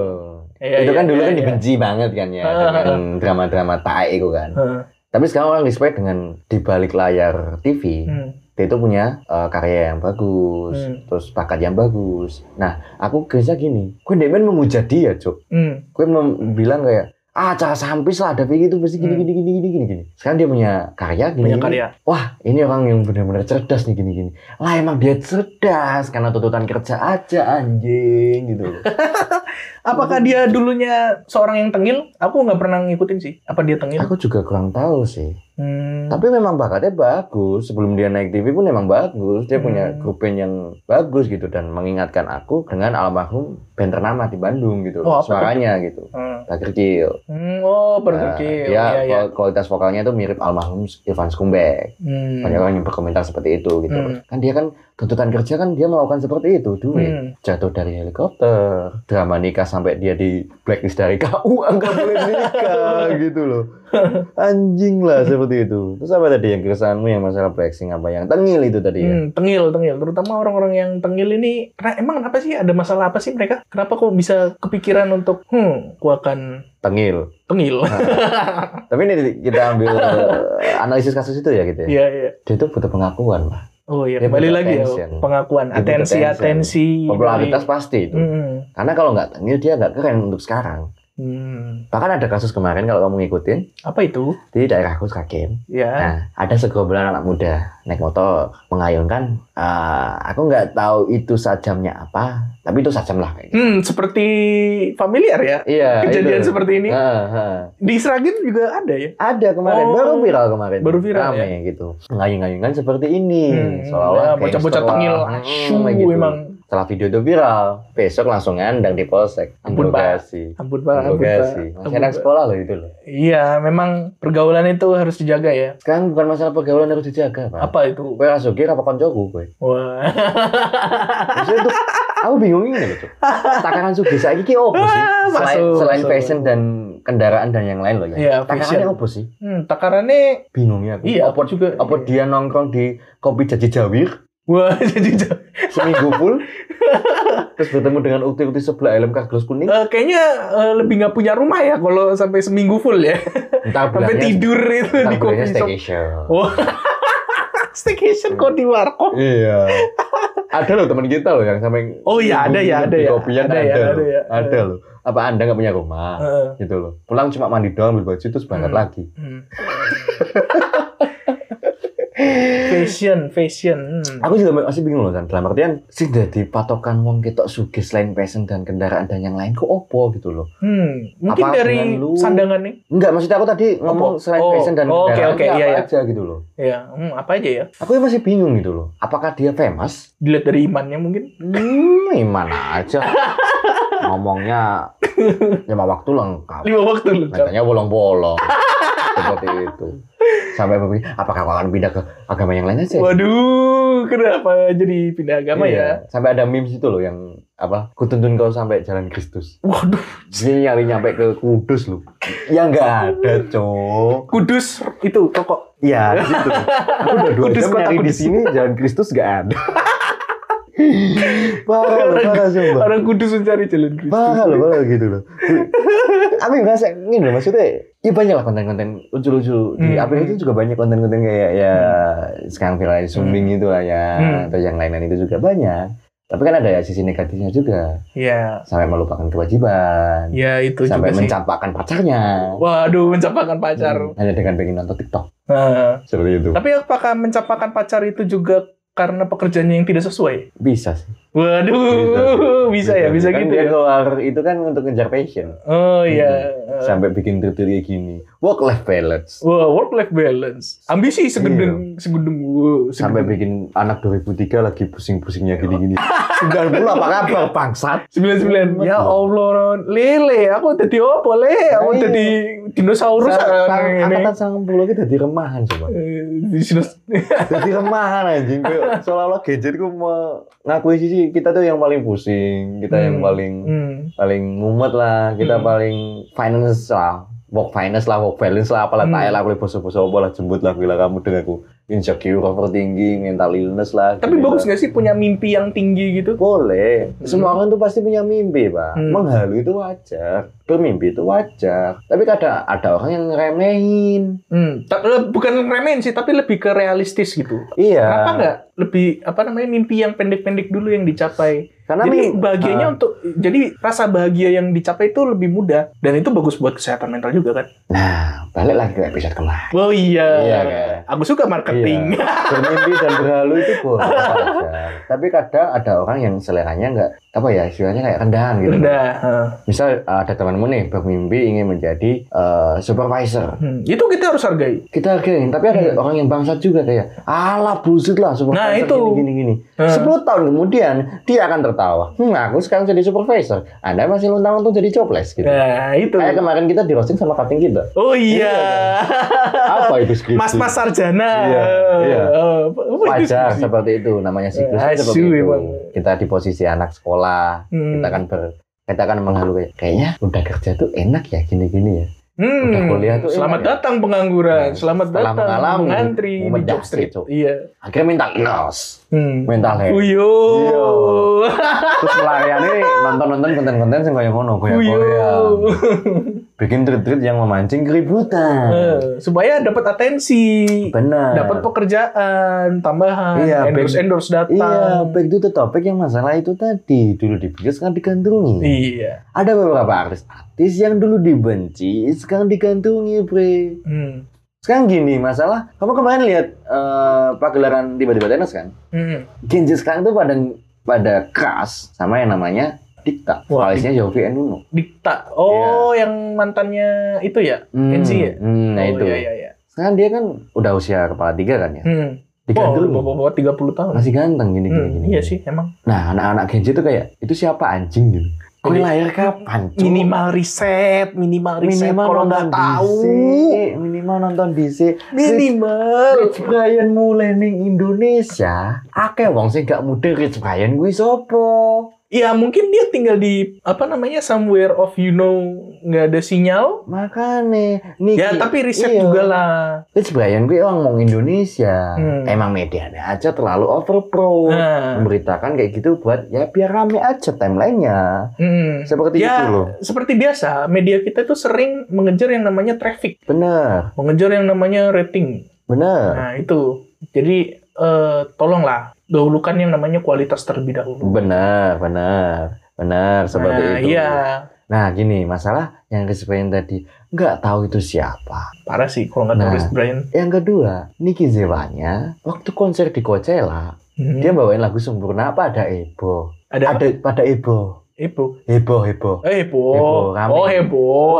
[SPEAKER 2] Iya,
[SPEAKER 1] itu kan
[SPEAKER 2] iya,
[SPEAKER 1] dulu
[SPEAKER 2] iya,
[SPEAKER 1] kan
[SPEAKER 2] iya.
[SPEAKER 1] dibenci banget kan ya
[SPEAKER 2] Ah,
[SPEAKER 1] dengan drama-drama tai itu kan.
[SPEAKER 2] Heeh.
[SPEAKER 1] Tapi sekarang orang respect dengan di balik layar TV,
[SPEAKER 2] Hmm.
[SPEAKER 1] dia itu punya eh, karya yang bagus,
[SPEAKER 2] Hmm.
[SPEAKER 1] terus bakat yang bagus. Nah, aku kerja gini, gue demen memuja dia, Cok.
[SPEAKER 2] Hmm.
[SPEAKER 1] Gue mem- bilang kayak, ah cara sampis lah, ada begitu pasti gini,
[SPEAKER 2] Hmm.
[SPEAKER 1] gini, gini, gini, gini, gini. Sekarang dia punya karya, gini,
[SPEAKER 2] punya
[SPEAKER 1] gini.
[SPEAKER 2] karya
[SPEAKER 1] Wah, ini orang yang benar-benar cerdas nih, gini, gini. Lah emang dia cerdas, karena tuntutan kerja aja, anjing, gitu. loh.
[SPEAKER 2] apakah dia dulunya seorang yang tengil aku nggak pernah ngikutin sih apa dia tengil
[SPEAKER 1] aku juga kurang tahu sih.
[SPEAKER 2] Hmm.
[SPEAKER 1] Tapi memang bakatnya bagus. Sebelum dia naik TV pun memang bagus. Dia punya
[SPEAKER 2] Hmm.
[SPEAKER 1] grup band yang bagus gitu dan mengingatkan aku dengan almarhum band ternama di Bandung gitu.
[SPEAKER 2] Oh, apa tuh?
[SPEAKER 1] Suaranya gitu.
[SPEAKER 2] Hmm.
[SPEAKER 1] Bagir Kecil.
[SPEAKER 2] Hmm, Oh,
[SPEAKER 1] Nah,
[SPEAKER 2] berpikir.
[SPEAKER 1] dia
[SPEAKER 2] ya, ya.
[SPEAKER 1] kual- kualitas vokalnya tuh mirip almarhum Irfan Skumbek.
[SPEAKER 2] Hmm.
[SPEAKER 1] Banyak orang yang berkomentar seperti itu gitu.
[SPEAKER 2] Hmm.
[SPEAKER 1] Kan dia kan tuntutan kerja kan dia melakukan seperti itu. Duit
[SPEAKER 2] Hmm.
[SPEAKER 1] jatuh dari helikopter, drama nikah sampai dia di blacklist dari KU nggak boleh nikah gitu loh anjing lah seperti itu terus apa tadi yang keresahanmu yang masalah flexing apa yang tengil itu tadi ya
[SPEAKER 2] Hmm, tengil, tengil. Terutama orang-orang yang tengil ini, karena emang kenapa sih? Ada masalah apa sih mereka? Kenapa kok bisa kepikiran untuk, hmm, gua akan
[SPEAKER 1] tengil
[SPEAKER 2] tengil?
[SPEAKER 1] tapi ini kita ambil eh, analisis kasus itu ya gitu ya
[SPEAKER 2] Iya, iya.
[SPEAKER 1] dia itu butuh pengakuan lah
[SPEAKER 2] Oh iya,
[SPEAKER 1] Dia
[SPEAKER 2] kembali
[SPEAKER 1] butuh
[SPEAKER 2] lagi ya.
[SPEAKER 1] attention.
[SPEAKER 2] Pengakuan,
[SPEAKER 1] Dia butuh
[SPEAKER 2] atensi,
[SPEAKER 1] attention. gitu.
[SPEAKER 2] atensi.
[SPEAKER 1] popularitas
[SPEAKER 2] dari-
[SPEAKER 1] pasti itu
[SPEAKER 2] Iya. Hmm,
[SPEAKER 1] karena kalau nggak tengil dia nggak keren untuk sekarang
[SPEAKER 2] hmm.
[SPEAKER 1] bahkan ada kasus kemarin kalau kamu ngikutin
[SPEAKER 2] Apa itu?
[SPEAKER 1] di daerahku Sragen
[SPEAKER 2] Ya.
[SPEAKER 1] Nah, ada segerombolan anak muda naik motor mengayunkan. eh, aku nggak tahu itu sajamnya apa, tapi itu sajam lah. kayak gitu.
[SPEAKER 2] Hmm, seperti familiar ya.
[SPEAKER 1] Iya.
[SPEAKER 2] Kejadian
[SPEAKER 1] itu.
[SPEAKER 2] seperti ini.
[SPEAKER 1] Heeh, heeh.
[SPEAKER 2] Di Sragen juga ada ya.
[SPEAKER 1] Ada kemarin,
[SPEAKER 2] Oh.
[SPEAKER 1] baru viral kemarin.
[SPEAKER 2] Baru viral, ya?
[SPEAKER 1] Rame, gitu. Ngayung-ngayungan seperti ini,
[SPEAKER 2] Hmm,
[SPEAKER 1] seolah-olah
[SPEAKER 2] ya,
[SPEAKER 1] kayak
[SPEAKER 2] bocah-bocah
[SPEAKER 1] setelah-
[SPEAKER 2] tengil
[SPEAKER 1] Hmm,
[SPEAKER 2] asu
[SPEAKER 1] kayak gitu.
[SPEAKER 2] emang.
[SPEAKER 1] Setelah video itu viral, besok langsung ngandang di polsek.
[SPEAKER 2] Ampun, Pak.
[SPEAKER 1] Interogasi.
[SPEAKER 2] Ampun Pak, ampun Pak.
[SPEAKER 1] Interogasi. Masih
[SPEAKER 2] Ampun,
[SPEAKER 1] anak
[SPEAKER 2] Pak.
[SPEAKER 1] sekolah loh itu loh.
[SPEAKER 2] Iya, memang pergaulan itu harus dijaga ya.
[SPEAKER 1] Sekarang bukan masalah pergaulan harus dijaga, Pak.
[SPEAKER 2] Apa itu?
[SPEAKER 1] Gue langsung kira apa koncoku gue.
[SPEAKER 2] Wah.
[SPEAKER 1] Maksudnya tuh, aku bingung ini loh, Cuk. Takaran sugih saiki ki opo sih?
[SPEAKER 2] Ah,
[SPEAKER 1] Selain,
[SPEAKER 2] masuk,
[SPEAKER 1] selain
[SPEAKER 2] masuk.
[SPEAKER 1] fashion dan kendaraan dan yang lain loh ya.
[SPEAKER 2] Iya,
[SPEAKER 1] Takarannya
[SPEAKER 2] fashion.
[SPEAKER 1] opo sih?
[SPEAKER 2] Hmm, takarannya
[SPEAKER 1] Bingungnya aku.
[SPEAKER 2] iya
[SPEAKER 1] Apa,
[SPEAKER 2] apa juga.
[SPEAKER 1] apa
[SPEAKER 2] Iya.
[SPEAKER 1] dia nongkrong di kopi jaji jawir
[SPEAKER 2] Wah, jadi jauh.
[SPEAKER 1] seminggu full terus bertemu dengan ukti-ukti sebelah helm kaglos kuning
[SPEAKER 2] Eh, kayaknya eh, lebih nggak punya rumah ya kalau sampai seminggu full ya.
[SPEAKER 1] entar
[SPEAKER 2] sampai
[SPEAKER 1] bilangnya
[SPEAKER 2] tidur itu
[SPEAKER 1] entar
[SPEAKER 2] di
[SPEAKER 1] bilangnya
[SPEAKER 2] coffee shop.
[SPEAKER 1] ya, staycation
[SPEAKER 2] Wah. Staycation kok di warkop.
[SPEAKER 1] iya ada loh teman kita loh yang sampai
[SPEAKER 2] Oh iya, ada ya, ada
[SPEAKER 1] di
[SPEAKER 2] ya.
[SPEAKER 1] kopian
[SPEAKER 2] Ada
[SPEAKER 1] ada,
[SPEAKER 2] ya,
[SPEAKER 1] loh.
[SPEAKER 2] ada ya.
[SPEAKER 1] ada loh apa anda nggak punya rumah
[SPEAKER 2] Heeh.
[SPEAKER 1] gitu loh pulang cuma mandi doang ambil baju terus berangkat
[SPEAKER 2] Hmm.
[SPEAKER 1] lagi
[SPEAKER 2] Hmm. fashion, fashion. Hmm.
[SPEAKER 1] Aku juga masih bingung loh, San. Dalam artian, sih jadi patokan wong ketok sugih selain passion dan kendaraan dan yang lain kok opo gitu loh.
[SPEAKER 2] Hmm, mungkin
[SPEAKER 1] Apa
[SPEAKER 2] dari
[SPEAKER 1] dengan lu?
[SPEAKER 2] sandangan nih.
[SPEAKER 1] Enggak, maksudnya aku tadi ngomong
[SPEAKER 2] Opo?
[SPEAKER 1] selain
[SPEAKER 2] Oh,
[SPEAKER 1] passion dan
[SPEAKER 2] oh, oke,
[SPEAKER 1] kendaraan
[SPEAKER 2] oke,
[SPEAKER 1] ya
[SPEAKER 2] iya,
[SPEAKER 1] apa
[SPEAKER 2] iya.
[SPEAKER 1] aja gitu loh.
[SPEAKER 2] Ya, hmm, apa aja ya?
[SPEAKER 1] Aku yang masih bingung gitu loh. Apakah dia famous?
[SPEAKER 2] Dilihat dari imannya mungkin.
[SPEAKER 1] Hmm, gimana aja. Ngomongnya lima waktu lengkap.
[SPEAKER 2] Lima waktu lu. Cap.
[SPEAKER 1] Katanya bolong-bolong. Seperti itu. Sampai berpikir, apakah aku akan pindah ke agama yang lain aja?
[SPEAKER 2] Waduh, kenapa jadi pindah agama ya?
[SPEAKER 1] Iya. Sampai ada memes itu loh yang apa? Kutuntun kau sampai jalan Kristus.
[SPEAKER 2] Waduh,
[SPEAKER 1] Dia nyari nyampe ke Kudus lu. Ya nggak ada, Cok.
[SPEAKER 2] Kudus itu toko.
[SPEAKER 1] Ya, di situ. Aku udah dua
[SPEAKER 2] Kudus,
[SPEAKER 1] jam
[SPEAKER 2] kota
[SPEAKER 1] nyari di
[SPEAKER 2] Kudus.
[SPEAKER 1] sini jalan Kristus nggak ada. parah loh, parah sumpah.
[SPEAKER 2] Orang Kudus mencari jalan Kristus.
[SPEAKER 1] Parah loh, parah gitu loh. Aku ngerasa ini loh maksudnya Iya banyak lah konten-konten lucu-lucu di
[SPEAKER 2] Hmm.
[SPEAKER 1] April itu juga banyak konten-konten kayak ya sekarang viral zooming itu lah ya
[SPEAKER 2] Hmm.
[SPEAKER 1] atau yang lain-lain itu juga banyak. Tapi kan ada sisi negatifnya juga
[SPEAKER 2] Ya,
[SPEAKER 1] sampai melupakan kewajiban,
[SPEAKER 2] ya itu
[SPEAKER 1] sampai
[SPEAKER 2] juga sih.
[SPEAKER 1] mencampakkan pacarnya.
[SPEAKER 2] Waduh, mencapakan pacar.
[SPEAKER 1] Hmm, Hanya dengan pengen nonton TikTok
[SPEAKER 2] Nah,
[SPEAKER 1] seperti itu.
[SPEAKER 2] tapi apakah mencapakan pacar itu juga karena pekerjaannya yang tidak sesuai?
[SPEAKER 1] Bisa sih.
[SPEAKER 2] Waduh, bisa, ya, bisa
[SPEAKER 1] Kan
[SPEAKER 2] gitu
[SPEAKER 1] dia
[SPEAKER 2] ya.
[SPEAKER 1] keluar itu kan untuk ngejar passion.
[SPEAKER 2] Oh iya. Eh,
[SPEAKER 1] Sampai bikin kriteria gini. Work life balance.
[SPEAKER 2] Wah, work life balance. Ambisi uh, segendeng, segendeng. Wow,
[SPEAKER 1] Iya. Sampai
[SPEAKER 2] segendeng.
[SPEAKER 1] bikin anak 2003 lagi pusing-pusingnya gini-gini.
[SPEAKER 2] Iya.
[SPEAKER 1] Sudah pula apa kabar bangsat?
[SPEAKER 2] 99. Ya Allah, Ron. Lele, aku tadi apa, Le? Aku
[SPEAKER 1] Ayo.
[SPEAKER 2] tadi dinosaurus kan
[SPEAKER 1] Iya.
[SPEAKER 2] ini.
[SPEAKER 1] Angkatan sang puluh kita di remahan coba.
[SPEAKER 2] Eh, dinos-
[SPEAKER 1] Jadi remahan anjing. Kayak Seolah-olah gadgetku mengakui sisi kita tuh yang paling pusing. Kita yang
[SPEAKER 2] Hmm.
[SPEAKER 1] paling
[SPEAKER 2] Hmm.
[SPEAKER 1] paling ngumet lah kita
[SPEAKER 2] Hmm.
[SPEAKER 1] paling finance lah work finance lah work balance lah apalah
[SPEAKER 2] Hmm.
[SPEAKER 1] tak lah boleh boso-boso apa lah jembut lah bila kamu dengan aku insecure overthinking mental illness lah
[SPEAKER 2] Tapi
[SPEAKER 1] gini
[SPEAKER 2] bagus
[SPEAKER 1] lah.
[SPEAKER 2] nggak sih punya mimpi yang tinggi gitu?
[SPEAKER 1] boleh
[SPEAKER 2] Hmm.
[SPEAKER 1] semua orang tuh pasti punya mimpi pak
[SPEAKER 2] Hmm.
[SPEAKER 1] menghalu itu wajar bermimpi itu wajar tapi kadang ada orang yang ngeremehin
[SPEAKER 2] Hmm. Ta- le- bukan remen sih, tapi lebih ke realistis gitu.
[SPEAKER 1] iya
[SPEAKER 2] Kenapa nggak lebih apa namanya mimpi yang pendek-pendek dulu yang dicapai?
[SPEAKER 1] karena
[SPEAKER 2] jadi
[SPEAKER 1] mim-
[SPEAKER 2] bahagianya
[SPEAKER 1] Ah.
[SPEAKER 2] untuk jadi rasa bahagia yang dicapai itu lebih mudah dan itu bagus buat kesehatan mental juga kan?
[SPEAKER 1] nah balik lagi ke episode kemarin
[SPEAKER 2] Oh iya,
[SPEAKER 1] Iya, kan?
[SPEAKER 2] aku suka marketing.
[SPEAKER 1] bermimpi dan berhalu itu boleh wajar. tapi kadang ada orang yang seleranya nggak apa ya istilahnya kayak rendahan gitu
[SPEAKER 2] Rendah. Heeh.
[SPEAKER 1] Misal uh, ada temanmu nih bermimpi ingin menjadi uh, supervisor.
[SPEAKER 2] Hmm, itu kita harus hargai.
[SPEAKER 1] Kita hargain, tapi ada
[SPEAKER 2] Hmm.
[SPEAKER 1] orang yang bangsat juga kayak, alah bullshit lah supervisor
[SPEAKER 2] Nah, itu.
[SPEAKER 1] gini gini gini.
[SPEAKER 2] Hmm.
[SPEAKER 1] 10 tahun kemudian dia akan tertawa. Hmm, aku sekarang jadi supervisor. Anda masih lontang untuk jadi jobless gitu.
[SPEAKER 2] Nah, itu.
[SPEAKER 1] Kayak kemarin kita di roasting sama cutting kita.
[SPEAKER 2] Oh iya.
[SPEAKER 1] Apa itu skripsi?
[SPEAKER 2] Mas-mas sarjana.
[SPEAKER 1] Iya, iya.
[SPEAKER 2] Eh, apa- apa itu
[SPEAKER 1] Wajar
[SPEAKER 2] skripsi?
[SPEAKER 1] seperti itu namanya siklus
[SPEAKER 2] Eh, asu
[SPEAKER 1] seperti itu.
[SPEAKER 2] emang.
[SPEAKER 1] Kita di posisi anak sekolah,
[SPEAKER 2] Hmm.
[SPEAKER 1] kita kan ber- kita akan menghalu kayak, kayaknya udah kerja tuh enak ya gini-gini ya
[SPEAKER 2] Hmm,
[SPEAKER 1] Udah kuliah tuh
[SPEAKER 2] selamat
[SPEAKER 1] enak ya?
[SPEAKER 2] datang
[SPEAKER 1] Nah,
[SPEAKER 2] pengangguran, selamat
[SPEAKER 1] setelah
[SPEAKER 2] datang
[SPEAKER 1] mengalami,
[SPEAKER 2] mengantri di
[SPEAKER 1] membedah
[SPEAKER 2] job street.
[SPEAKER 1] sih, Cuk.
[SPEAKER 2] Iya.
[SPEAKER 1] akhirnya mental nurse
[SPEAKER 2] Hmm.
[SPEAKER 1] mental health
[SPEAKER 2] Uyo.
[SPEAKER 1] Iya. terus melayani nonton-nonton konten-konten yang kayak ngono kayak
[SPEAKER 2] Uyo.
[SPEAKER 1] goyang bikin tweet-tweet yang memancing keributan
[SPEAKER 2] Eh, supaya dapat atensi,
[SPEAKER 1] benar
[SPEAKER 2] dapat pekerjaan tambahan,
[SPEAKER 1] Iya,
[SPEAKER 2] endorse endorse
[SPEAKER 1] Iya,
[SPEAKER 2] datang.
[SPEAKER 1] back to the topic yang masalah itu tadi dulu dibenci sekarang digandrungi.
[SPEAKER 2] Iya.
[SPEAKER 1] Ada beberapa artis-artis yang dulu dibenci sekarang digandrungi, Bre.
[SPEAKER 2] Hmm.
[SPEAKER 1] Sekarang gini masalah, kamu kemarin lihat eh, pagelaran tiba-tiba tenis kan?
[SPEAKER 2] Hmm.
[SPEAKER 1] Gen Z sekarang tuh pada pada keras sama yang namanya Dikta.
[SPEAKER 2] Wah,
[SPEAKER 1] Vokalisnya Jovi and Nuno.
[SPEAKER 2] Dikta. Oh, yang mantannya itu ya? Gen Z ya?
[SPEAKER 1] hmm, nah
[SPEAKER 2] oh,
[SPEAKER 1] Iya. itu.
[SPEAKER 2] Iya, iya, iya.
[SPEAKER 1] Sekarang dia kan udah usia kepala tiga kan ya?
[SPEAKER 2] Hmm.
[SPEAKER 1] Digandrungi.
[SPEAKER 2] Oh, bawa-bawa 30 tahun.
[SPEAKER 1] Masih ganteng gini gini.
[SPEAKER 2] Hmm,
[SPEAKER 1] gini.
[SPEAKER 2] iya sih, emang.
[SPEAKER 1] Nah, anak-anak Gen Z tuh kayak itu siapa anjing gitu. Kue
[SPEAKER 2] Jadi-
[SPEAKER 1] lahir kapan? Cuk?
[SPEAKER 2] Minimal riset, minimal riset kalau nggak tahu.
[SPEAKER 1] DC, Iya, minimal nonton DC.
[SPEAKER 2] Minimal.
[SPEAKER 1] Rich Brian mulai ning Indonesia, akeh wong sing gak muda Rich Brian kuwi sopo?
[SPEAKER 2] Ya mungkin dia tinggal di apa namanya somewhere of you know nggak ada sinyal.
[SPEAKER 1] Makane niki.
[SPEAKER 2] Ya tapi riset
[SPEAKER 1] iya.
[SPEAKER 2] juga lah.
[SPEAKER 1] Rich Brian kuwi orang mau Indonesia.
[SPEAKER 2] Hmm.
[SPEAKER 1] Emang medianya aja terlalu overpro.
[SPEAKER 2] Nah,
[SPEAKER 1] Memberitakan kayak gitu buat ya biar rame aja timelinenya.
[SPEAKER 2] mm.
[SPEAKER 1] Seperti
[SPEAKER 2] Ya.
[SPEAKER 1] itu loh.
[SPEAKER 2] seperti biasa media kita tuh sering mengejar yang namanya traffic,
[SPEAKER 1] Bener,
[SPEAKER 2] mengejar yang namanya rating.
[SPEAKER 1] bener,
[SPEAKER 2] Nah itu jadi eh, tolonglah dahulukan yang namanya kualitas terlebih dahulu.
[SPEAKER 1] bener, bener, bener seperti
[SPEAKER 2] nah,
[SPEAKER 1] itu.
[SPEAKER 2] Iya
[SPEAKER 1] Nah gini masalah yang Rich Brian tadi nggak tahu itu siapa.
[SPEAKER 2] parah sih kalau nggak
[SPEAKER 1] Nah.
[SPEAKER 2] tulis Brian.
[SPEAKER 1] Yang kedua, Niki Zewanya waktu konser di Coachella,
[SPEAKER 2] Hmm.
[SPEAKER 1] dia bawain lagu sempurna pada Ebo.
[SPEAKER 2] ada apa?
[SPEAKER 1] Ada pada Ebo.
[SPEAKER 2] Ibu.
[SPEAKER 1] Heboh, heboh.
[SPEAKER 2] Eh, heboh.
[SPEAKER 1] Heboh, rame.
[SPEAKER 2] Oh, heboh.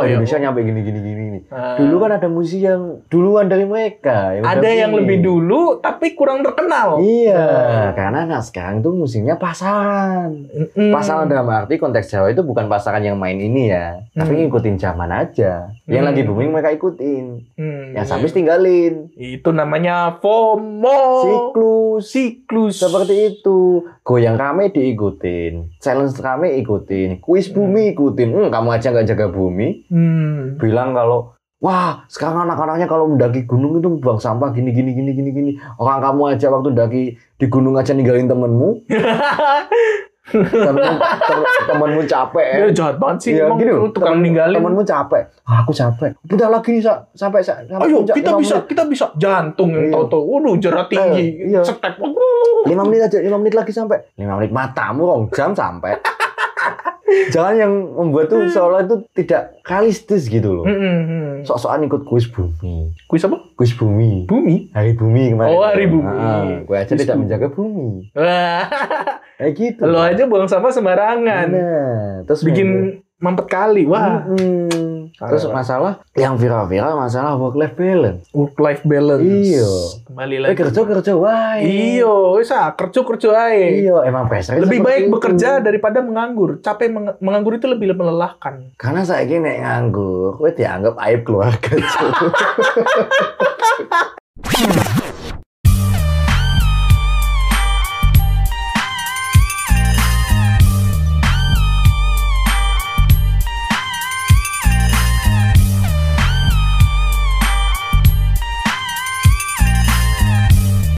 [SPEAKER 1] Oh, Indonesia
[SPEAKER 2] Heboh.
[SPEAKER 1] nyampe gini gini gini. nih.
[SPEAKER 2] Nah,
[SPEAKER 1] Dulu kan ada musisi yang duluan dari mereka. ya
[SPEAKER 2] ada
[SPEAKER 1] udah
[SPEAKER 2] yang
[SPEAKER 1] gini.
[SPEAKER 2] lebih dulu tapi kurang terkenal.
[SPEAKER 1] Iya,
[SPEAKER 2] Nah.
[SPEAKER 1] karena anak sekarang tuh musimnya pasaran.
[SPEAKER 2] Mm-mm.
[SPEAKER 1] Pasaran dalam arti konteks Jawa itu bukan pasaran yang main ini ya, tapi
[SPEAKER 2] Hmm.
[SPEAKER 1] ngikutin zaman aja. Yang
[SPEAKER 2] Hmm.
[SPEAKER 1] lagi booming mereka ikutin,
[SPEAKER 2] Hmm,
[SPEAKER 1] yang
[SPEAKER 2] iya.
[SPEAKER 1] habis tinggalin.
[SPEAKER 2] itu namanya FOMO.
[SPEAKER 1] Siklus
[SPEAKER 2] Siklus.
[SPEAKER 1] Seperti itu, goyang rame diikutin, challenge rame ikutin, kuis bumi ikutin. Hmm, kamu aja nggak jaga bumi,
[SPEAKER 2] Hmm.
[SPEAKER 1] bilang kalau wah sekarang anak-anaknya kalau mendaki gunung itu buang sampah gini gini gini gini gini. Orang kamu aja waktu daki di gunung aja ninggalin temenmu, Eh. temenmu, ter- temenmu capek.
[SPEAKER 2] Dia jahat banget sih.
[SPEAKER 1] Iya,
[SPEAKER 2] emang
[SPEAKER 1] gini
[SPEAKER 2] lu
[SPEAKER 1] loh,
[SPEAKER 2] tukang
[SPEAKER 1] temen-
[SPEAKER 2] ninggalin.
[SPEAKER 1] Temenmu capek, "Ah, aku capek. Udah lagi nih Sa. sampai Sa. sampai
[SPEAKER 2] Ayo
[SPEAKER 1] puncak
[SPEAKER 2] kita
[SPEAKER 1] lima
[SPEAKER 2] bisa, kita bisa. Jantung yang
[SPEAKER 1] Iya.
[SPEAKER 2] tahu-tahu. Waduh, jarak tinggi.
[SPEAKER 1] Eh, iya.
[SPEAKER 2] Setek.
[SPEAKER 1] lima menit aja lima menit lagi sampai lima menit matamu rong jam sampai jangan yang membuat tuh
[SPEAKER 2] Hmm.
[SPEAKER 1] seolah itu tidak realistis gitu loh
[SPEAKER 2] Mm-mm.
[SPEAKER 1] sok-sokan ikut kuis bumi
[SPEAKER 2] mm. Kuis apa?
[SPEAKER 1] kuis bumi
[SPEAKER 2] Bumi.
[SPEAKER 1] hari bumi kemarin
[SPEAKER 2] Oh, hari bumi.
[SPEAKER 1] Ah, gue aja
[SPEAKER 2] Kuis
[SPEAKER 1] tidak
[SPEAKER 2] bumi.
[SPEAKER 1] menjaga bumi
[SPEAKER 2] Wah,
[SPEAKER 1] kayak gitu
[SPEAKER 2] Lo aja buang sampah sembarangan.
[SPEAKER 1] nah, terus
[SPEAKER 2] Bikin mampet kali. Wah,
[SPEAKER 1] Mm-mm. terus
[SPEAKER 2] Parah.
[SPEAKER 1] masalah yang viral-viral masalah work life balance
[SPEAKER 2] work life balance.
[SPEAKER 1] Iya. eh
[SPEAKER 2] Kembali lagi.
[SPEAKER 1] kerja kerja wae
[SPEAKER 2] Iyo, ah, bisa kerja kerja aja.
[SPEAKER 1] Iya, emang pressure
[SPEAKER 2] Lebih
[SPEAKER 1] seperti
[SPEAKER 2] baik
[SPEAKER 1] itu.
[SPEAKER 2] bekerja daripada menganggur. Capek meng- menganggur itu lebih melelahkan.
[SPEAKER 1] Karena saya nek nganggur, gue dianggap aib keluarga. Cuk.